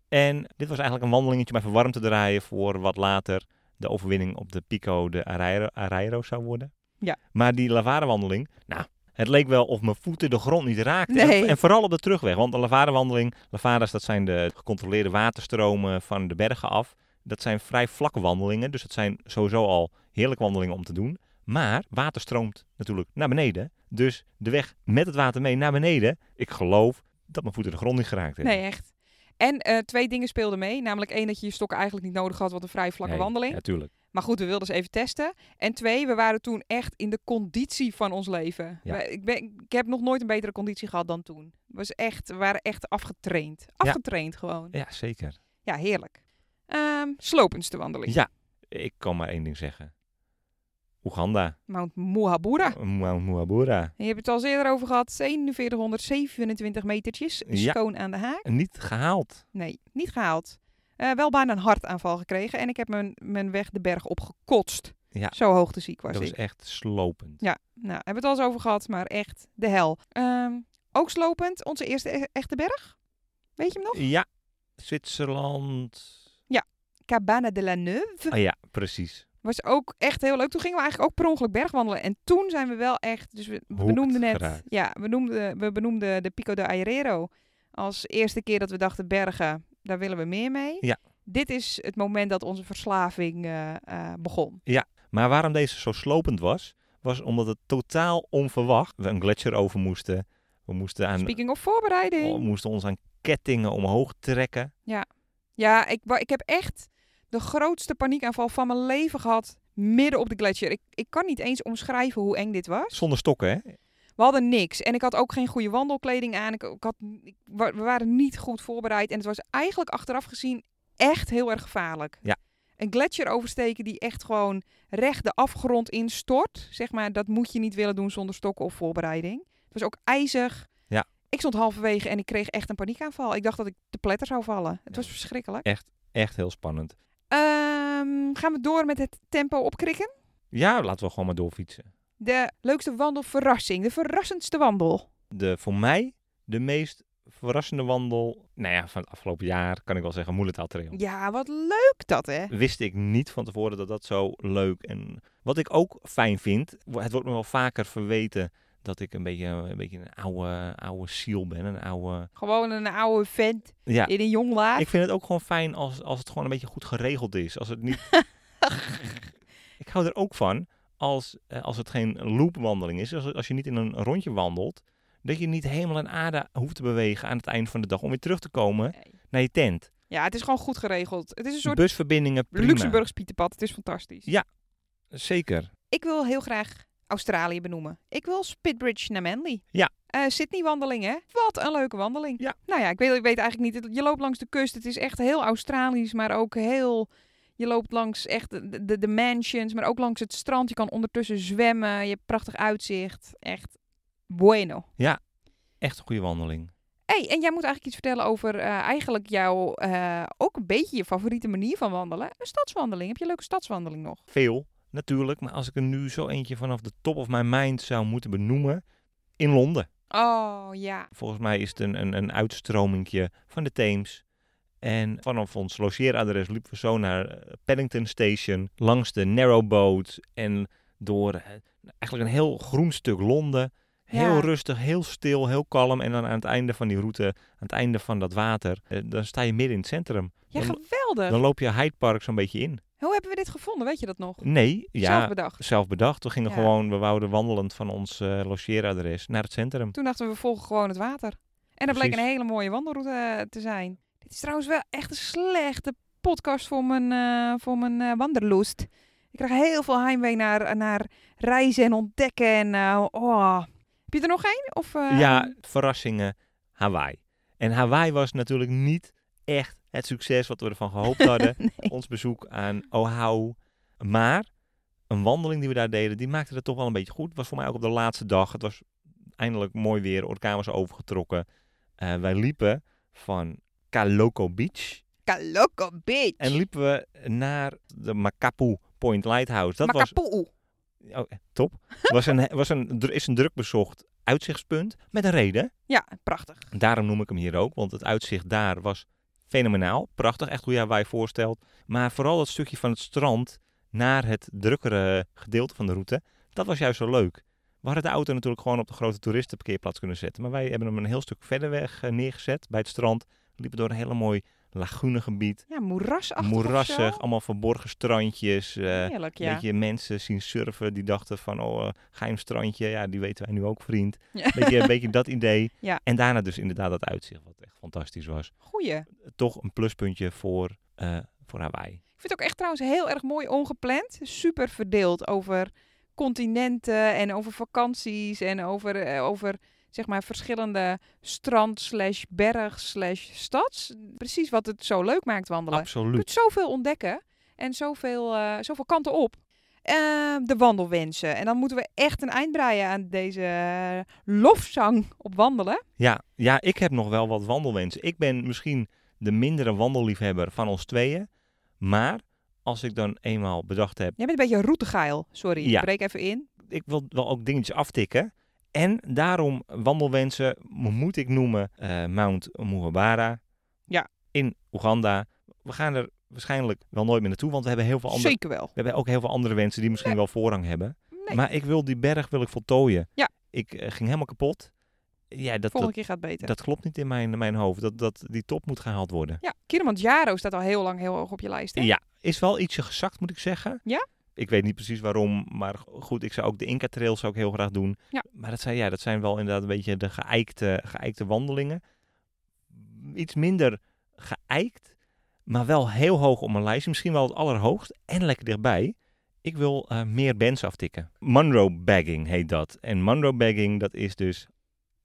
Speaker 1: En dit was eigenlijk een wandelingetje om even warm te draaien voor wat later de overwinning op de Pico de Arairo, Arairo zou worden.
Speaker 2: Ja.
Speaker 1: Maar die Lavarewandeling, nou, het leek wel of mijn voeten de grond niet raakten. Dus
Speaker 2: Nee.
Speaker 1: En, en vooral op de terugweg, want de Lavarewandeling, Lavares dat zijn de gecontroleerde waterstromen van de bergen af. Dat zijn vrij vlakke wandelingen, dus dat zijn sowieso al heerlijke wandelingen om te doen. Maar water stroomt natuurlijk naar beneden. Dus de weg met het water mee naar beneden. Ik geloof dat mijn voeten de grond niet geraakt hebben.
Speaker 2: Nee, echt. En eh, twee dingen speelden mee. Namelijk één, dat je je stokken eigenlijk niet nodig had, want een vrij vlakke
Speaker 1: Nee,
Speaker 2: wandeling.
Speaker 1: Ja, tuurlijk.
Speaker 2: Maar goed, we wilden ze even testen. En twee, we waren toen echt in de conditie van ons leven.
Speaker 1: Ja.
Speaker 2: We- ik, ben, ik heb nog nooit een betere conditie gehad dan toen. Het Was echt, we waren echt afgetraind. Afgetraind gewoon.
Speaker 1: Ja, zeker.
Speaker 2: Ja, heerlijk. Ehm slopendste wandeling.
Speaker 1: Ja, ik kan maar één ding zeggen. Oeganda,
Speaker 2: Mount Muhabura.
Speaker 1: Mount Muhabura.
Speaker 2: En je hebt het al eens eerder over gehad. 4727 metertjes.
Speaker 1: Ja.
Speaker 2: Schoon aan de haak.
Speaker 1: Niet gehaald.
Speaker 2: Nee, niet gehaald. Eh, wel bijna een hartaanval gekregen. En ik heb mijn, mijn weg de berg op gekotst.
Speaker 1: Ja.
Speaker 2: Zo hoogteziek was
Speaker 1: dat
Speaker 2: ik.
Speaker 1: was echt slopend.
Speaker 2: Ja, nou, hebben we het al eens over gehad, maar echt de hel. Ehm, ook slopend, onze eerste e- echte berg. Weet je hem nog?
Speaker 1: Ja, Zwitserland.
Speaker 2: Cabana de la Neuve.
Speaker 1: Ah ja, precies.
Speaker 2: Was ook echt heel leuk. Toen gingen we eigenlijk ook per ongeluk bergwandelen. En toen zijn we wel echt, dus we we
Speaker 1: Hoekt
Speaker 2: benoemden net,
Speaker 1: geraakt.
Speaker 2: ja, we, noemden, we benoemden de Pico de Airero als eerste keer dat we dachten bergen, daar willen we meer mee.
Speaker 1: Ja.
Speaker 2: Dit is het moment dat onze verslaving eh, eh, begon.
Speaker 1: Maar waarom deze zo slopend was, was omdat het totaal onverwacht. We een gletsjer over moesten. We moesten, aan,
Speaker 2: Speaking of
Speaker 1: we
Speaker 2: voorbereiding.
Speaker 1: moesten ons aan kettingen omhoog trekken.
Speaker 2: Ja, ik, wa- ik heb echt de grootste paniekaanval van mijn leven gehad midden op de gletsjer. Ik, ik kan niet eens omschrijven hoe eng dit was.
Speaker 1: Zonder stokken, hè?
Speaker 2: We hadden niks en ik had ook geen goede wandelkleding aan. Ik, ik had, ik wa- we waren niet goed voorbereid en het was eigenlijk achteraf gezien echt heel erg gevaarlijk.
Speaker 1: Ja.
Speaker 2: Een gletsjer oversteken die echt gewoon recht de afgrond instort, zeg maar, dat moet je niet willen doen zonder stokken of voorbereiding. Het was ook ijzig.
Speaker 1: Ja.
Speaker 2: Ik stond halverwege en ik kreeg echt een paniekaanval. Ik dacht dat ik te pletter zou vallen. Het
Speaker 1: Ja.
Speaker 2: was verschrikkelijk.
Speaker 1: Echt heel spannend.
Speaker 2: Ehm, gaan we door met het tempo opkrikken?
Speaker 1: Ja, laten we gewoon maar doorfietsen.
Speaker 2: De leukste wandelverrassing, de verrassendste wandel.
Speaker 1: De, voor mij de meest verrassende wandel, nou ja, van het afgelopen jaar kan ik wel zeggen, Moelentaal Trail.
Speaker 2: Ja, wat leuk dat, hè?
Speaker 1: Wist ik niet van tevoren dat dat zo leuk en wat ik ook fijn vind, wo- het wordt me wel vaker verweten dat ik een beetje een, beetje een oude, oude ziel ben, een oude...
Speaker 2: Gewoon een oude vent
Speaker 1: Ja,
Speaker 2: in een jong laag.
Speaker 1: ik vind het ook gewoon fijn als, als het gewoon een beetje goed geregeld is. Als het niet... ik hou er ook van als, eh, als het geen loopwandeling is. Als, als je niet in een rondje wandelt. Dat je niet helemaal een aarde hoeft te bewegen aan het eind van de dag. Om weer terug te komen
Speaker 2: Nee.
Speaker 1: naar je tent.
Speaker 2: Ja, het is gewoon goed geregeld. Het is een soort
Speaker 1: Busverbindingen prima.
Speaker 2: Luxemburgs Pieterpad. Het is fantastisch.
Speaker 1: Ja. Zeker.
Speaker 2: Ik wil heel graag Australië benoemen. Ik wil Spitbridge naar Manly.
Speaker 1: Ja.
Speaker 2: Eh, Sydney-wandeling, hè? Wat een leuke wandeling.
Speaker 1: Ja.
Speaker 2: Nou ja, ik weet, ik weet eigenlijk niet. het- Je loopt langs de kust. Het is echt heel Australisch, maar ook heel... Je loopt langs echt de, de, de mansions, maar ook langs het strand. Je kan ondertussen zwemmen. Je hebt prachtig uitzicht. Echt bueno.
Speaker 1: Echt een goede wandeling.
Speaker 2: hey, en jij moet eigenlijk iets vertellen over eh, eigenlijk jouw... eh, ook een beetje je favoriete manier van wandelen. Een stadswandeling. Heb je een leuke stadswandeling nog?
Speaker 1: Veel, natuurlijk. Maar als ik er nu zo eentje vanaf de top of my mind zou moeten benoemen. In Londen.
Speaker 2: Oh, ja.
Speaker 1: Volgens mij is het een, een, een uitstromingje van de Theems. En vanaf ons logeeradres liepen we zo naar eh, Paddington Station, langs de narrowboat en door eh, eigenlijk een heel groen stuk Londen. Heel
Speaker 2: Ja.
Speaker 1: rustig, heel stil, heel kalm. En dan aan het einde van die route, aan het einde van dat water, eh, dan sta je midden in het centrum.
Speaker 2: Ja,
Speaker 1: Dan-
Speaker 2: geweldig.
Speaker 1: Dan loop je Hyde Park zo'n beetje in.
Speaker 2: Hoe hebben we dit gevonden? Weet je dat nog?
Speaker 1: Nee,
Speaker 2: Zelf
Speaker 1: ja,
Speaker 2: bedacht.
Speaker 1: zelf bedacht. Toen gingen we
Speaker 2: Ja.
Speaker 1: gewoon, we wouden wandelend van ons eh, logeeradres naar het centrum.
Speaker 2: Toen dachten we, we volgen gewoon het water. En dat bleek
Speaker 1: Precies.
Speaker 2: een hele mooie wandelroute eh, te zijn. Dit is trouwens wel echt een slechte podcast voor mijn, eh, voor mijn eh, wanderlust. Ik krijg heel veel heimwee naar, eh, naar reizen en ontdekken. En, eh, oh. Heb je er nog één? Of, eh,
Speaker 1: Ja, verrassingen, Hawaii. En Hawaii was natuurlijk niet echt het succes wat we ervan gehoopt hadden.
Speaker 2: nee.
Speaker 1: Ons bezoek aan Oahu. Maar een wandeling die we daar deden, die maakte het toch wel een beetje goed. Was voor mij ook op de laatste dag. Het was eindelijk mooi weer. Orkaan was overgetrokken. Eh, wij liepen van Kaloko Beach.
Speaker 2: Caloco Beach.
Speaker 1: En liepen we naar de Makapu Point Lighthouse. Dat was
Speaker 2: Makapu'u.
Speaker 1: oh, eh, top. Was een, was een, dru- is een druk bezocht uitzichtspunt met een reden.
Speaker 2: Ja, prachtig.
Speaker 1: Daarom noem ik hem hier ook, want het uitzicht daar was fenomenaal. Prachtig, echt hoe jij wij voorstelt. Maar vooral dat stukje van het strand naar het drukkere gedeelte van de route, dat was juist zo leuk. We hadden de auto natuurlijk gewoon op de grote toeristenparkeerplaats kunnen zetten. Maar wij hebben hem een heel stuk verder weg eh, neergezet bij het strand. We liepen door een hele mooi lagunegebied.
Speaker 2: Ja, moerasachtig of zo.
Speaker 1: Moerassig, allemaal verborgen strandjes. eh,
Speaker 2: Heerlijk, ja.
Speaker 1: Weet je, mensen zien surfen die dachten van, oh, eh, geheim strandje. Ja, die weten wij nu ook, vriend.
Speaker 2: Ja.
Speaker 1: Beetje, een beetje dat idee.
Speaker 2: Ja.
Speaker 1: En daarna dus inderdaad dat uitzicht, wat echt fantastisch was.
Speaker 2: Goeie.
Speaker 1: Toch een pluspuntje voor, eh, voor Hawaii.
Speaker 2: Ik vind het ook echt trouwens heel erg mooi ongepland. Super verdeeld over continenten en over vakanties en over, eh, over zeg maar verschillende strand slash berg slash stads. Precies wat het zo leuk maakt wandelen. Je
Speaker 1: Absoluut.
Speaker 2: kunt zoveel ontdekken en zoveel, eh, zoveel kanten op. Eh, de wandelwensen. En dan moeten we echt een eind breien aan deze eh, lofzang op wandelen.
Speaker 1: Ja, ja, ik heb nog wel wat wandelwensen. Ik ben misschien de mindere wandelliefhebber van ons tweeën. Maar als ik dan eenmaal bedacht heb,
Speaker 2: Jij bent een beetje routegeil. Sorry, ik
Speaker 1: Ja.
Speaker 2: breek even in.
Speaker 1: ik wil wel ook dingetjes aftikken. En daarom wandelwensen mo- moet ik noemen eh, Mount Muhabara.
Speaker 2: Ja.
Speaker 1: In Oeganda. We gaan er waarschijnlijk wel nooit meer naartoe, want we hebben heel veel andere,
Speaker 2: Zeker wel.
Speaker 1: we hebben ook heel veel andere wensen die misschien wel voorrang hebben.
Speaker 2: Nee,
Speaker 1: Maar ik wil die berg wil ik voltooien.
Speaker 2: Ja.
Speaker 1: Ik eh, ging helemaal kapot. Ja, dat,
Speaker 2: volgende
Speaker 1: dat,
Speaker 2: keer gaat het beter.
Speaker 1: dat klopt niet in mijn, in mijn hoofd. Dat, dat die top moet gehaald worden.
Speaker 2: Ja, Kilimanjaro staat al heel lang heel hoog op je lijst. Hè?
Speaker 1: Ja, is wel ietsje gezakt, moet ik zeggen.
Speaker 2: Ja?
Speaker 1: Ik weet niet precies waarom, maar goed, ik zou ook de Inca Trail zou ik heel graag doen.
Speaker 2: Ja.
Speaker 1: Maar dat zijn, ja, dat zijn wel inderdaad een beetje de geëikte, geëikte wandelingen. Iets minder geëikt, maar wel heel hoog op mijn lijst. Misschien wel het allerhoogst en lekker dichtbij. Ik wil eh, meer bands aftikken. Munro bagging heet dat. En Munro bagging, dat is dus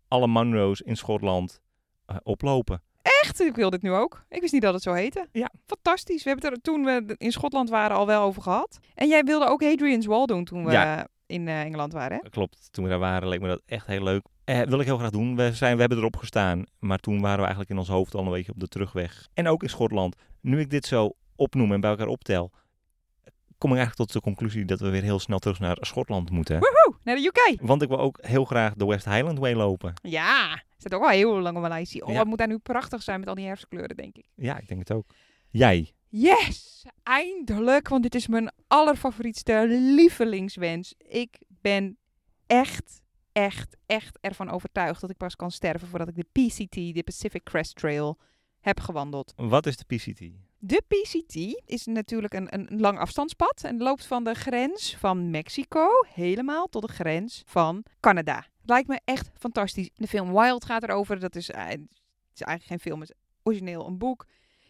Speaker 1: alle Munro's in Schotland eh, oplopen.
Speaker 2: Echt, ik wil dit nu ook. Ik wist niet dat het zo heette.
Speaker 1: Ja.
Speaker 2: Fantastisch. We hebben het er toen we in Schotland waren al wel over gehad. En jij wilde ook Hadrian's Wall doen toen we
Speaker 1: Ja.
Speaker 2: eh, in eh, Engeland waren. Hè?
Speaker 1: Klopt, toen we daar waren leek me dat echt heel leuk. Eh, wil ik heel graag doen. We, zijn, we hebben erop gestaan, maar toen waren we eigenlijk in ons hoofd al een beetje op de terugweg. En ook in Schotland. Nu ik dit zo opnoem en bij elkaar optel, kom ik eigenlijk tot de conclusie dat we weer heel snel terug naar Schotland moeten.
Speaker 2: Woehoe, naar de UK.
Speaker 1: Want ik wil ook heel graag de West Highland Way lopen.
Speaker 2: Ja, staat ook al heel lang op mijn lijstje. Oh,
Speaker 1: Ja.
Speaker 2: wat moet daar nu prachtig zijn met al die herfstkleuren, denk ik.
Speaker 1: Ja, ik denk het ook. Jij.
Speaker 2: Yes, eindelijk, want dit is mijn allerfavorietste lievelingswens. Ik ben echt, echt, echt ervan overtuigd dat ik pas kan sterven voordat ik de PCT, de Pacific Crest Trail, heb gewandeld.
Speaker 1: Wat is de PCT?
Speaker 2: De PCT is natuurlijk een, een lang afstandspad en loopt van de grens van Mexico helemaal tot de grens van Canada. Het lijkt me echt fantastisch. De film Wild gaat erover. Dat is, eh, het is eigenlijk geen film, het is origineel een boek.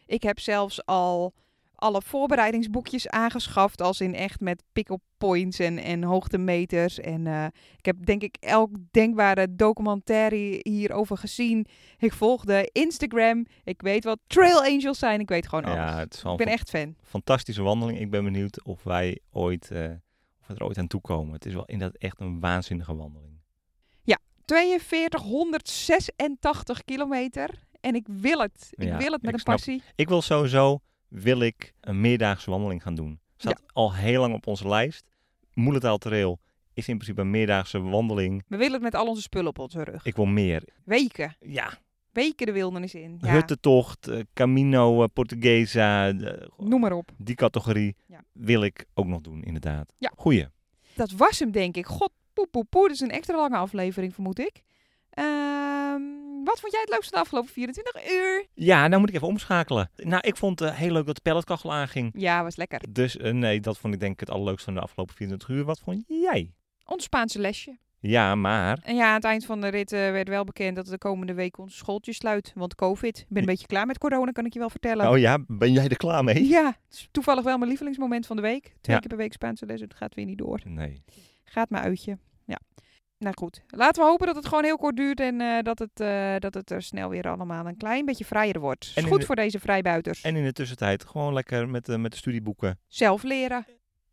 Speaker 2: Ik heb zelfs al alle voorbereidingsboekjes aangeschaft, als in echt met pick-up points en, en hoogtemeters. En eh, ik heb denk ik elk denkbare documentaire hierover gezien. Ik volgde Instagram. Ik weet wat Trail Angels zijn. Ik weet gewoon alles.
Speaker 1: Ja, het is wel
Speaker 2: ik
Speaker 1: een
Speaker 2: ben echt fan.
Speaker 1: fa- fantastische wandeling. Ik ben benieuwd of wij ooit, eh, of we er ooit aan toe komen. Het is wel inderdaad echt een waanzinnige wandeling.
Speaker 2: 4286 kilometer. En ik wil het. Ik
Speaker 1: Ja,
Speaker 2: wil het met
Speaker 1: ik
Speaker 2: een
Speaker 1: snap
Speaker 2: passie.
Speaker 1: Ik wil sowieso, wil ik een meerdaagse wandeling gaan doen. Staat al heel lang op onze lijst. Moelentaal Trail is in principe een meerdaagse wandeling.
Speaker 2: We willen het met al onze spullen op onze rug.
Speaker 1: Ik wil meer.
Speaker 2: Weken.
Speaker 1: Ja,
Speaker 2: Weken de wildernis in. Ja,
Speaker 1: huttentocht, eh, Camino, eh, Portuguesa, de-
Speaker 2: noem maar op.
Speaker 1: die categorie
Speaker 2: Ja.
Speaker 1: wil ik ook nog doen, inderdaad.
Speaker 2: Ja.
Speaker 1: Goeie.
Speaker 2: Dat was hem, denk ik. God, poe, poe, poe. Dat is een extra lange aflevering, vermoed ik. Ehm, wat vond jij het leukste de afgelopen 24 uur?
Speaker 1: Ja, nou moet ik even omschakelen. Nou, ik vond het heel leuk dat de pelletkachel aanging.
Speaker 2: Ja, was lekker.
Speaker 1: Dus eh, nee, dat vond ik denk ik het allerleukste van de afgelopen 24 uur. Wat vond jij?
Speaker 2: Ons Spaanse lesje.
Speaker 1: Ja, maar...
Speaker 2: En ja, aan het eind van de rit eh, werd wel bekend dat de komende week ons schooltje sluit. Want COVID. Ik ben een beetje klaar met corona, kan ik je wel vertellen.
Speaker 1: Oh ja, ben jij er klaar mee?
Speaker 2: Ja, het is toevallig wel mijn lievelingsmoment van de week. Twee
Speaker 1: Ja.
Speaker 2: keer per week Spaanse les, het gaat weer niet door.
Speaker 1: Nee.
Speaker 2: Gaat maar uitje. Ja. Nou goed, laten we hopen dat het gewoon heel kort duurt en eh, dat, het, eh, dat het er snel weer allemaal een klein beetje vrijer wordt. Is
Speaker 1: En in
Speaker 2: goed
Speaker 1: de-
Speaker 2: voor deze vrijbuiters.
Speaker 1: En in de tussentijd gewoon lekker met, de met de studieboeken.
Speaker 2: Zelf leren.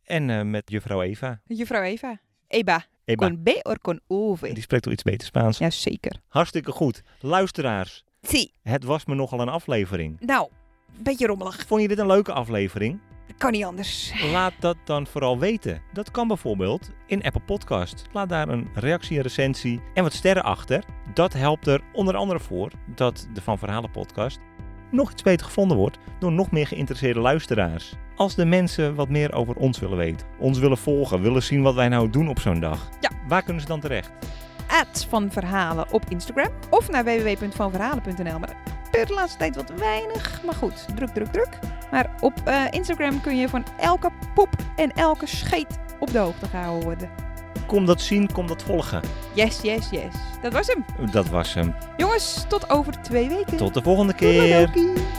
Speaker 1: En eh, met juffrouw Eva.
Speaker 2: Juffrouw Eva. Eba,
Speaker 1: Eva,
Speaker 2: con B or con V.
Speaker 1: die spreekt wel iets beter Spaans.
Speaker 2: Jazeker.
Speaker 1: Hartstikke goed. Luisteraars,
Speaker 2: Zie.
Speaker 1: het was me nogal een aflevering.
Speaker 2: Nou, een beetje rommelig.
Speaker 1: Vond je dit een leuke aflevering?
Speaker 2: Kan niet anders.
Speaker 1: Laat dat dan vooral weten. Dat kan bijvoorbeeld in Apple Podcast. Laat daar een reactie, een recensie en wat sterren achter. Dat helpt er onder andere voor dat de Van Verhalen podcast nog iets beter gevonden wordt door nog meer geïnteresseerde luisteraars. Als de mensen wat meer over ons willen weten, ons willen volgen, willen zien wat wij nou doen op zo'n dag.
Speaker 2: Ja.
Speaker 1: Waar kunnen ze dan terecht?
Speaker 2: at van Verhalen op Instagram of naar www.vanverhalen.nl. Maar per de laatste tijd wat weinig. Maar goed, druk, druk, druk. Maar op eh, Instagram kun je van elke poep en elke scheet op de hoogte gehouden worden.
Speaker 1: Kom dat zien, kom dat volgen.
Speaker 2: Yes, yes, yes. Dat was hem.
Speaker 1: Dat was hem.
Speaker 2: Jongens, tot over twee weken.
Speaker 1: Tot de volgende
Speaker 2: Doei,
Speaker 1: keer.
Speaker 2: Madoki.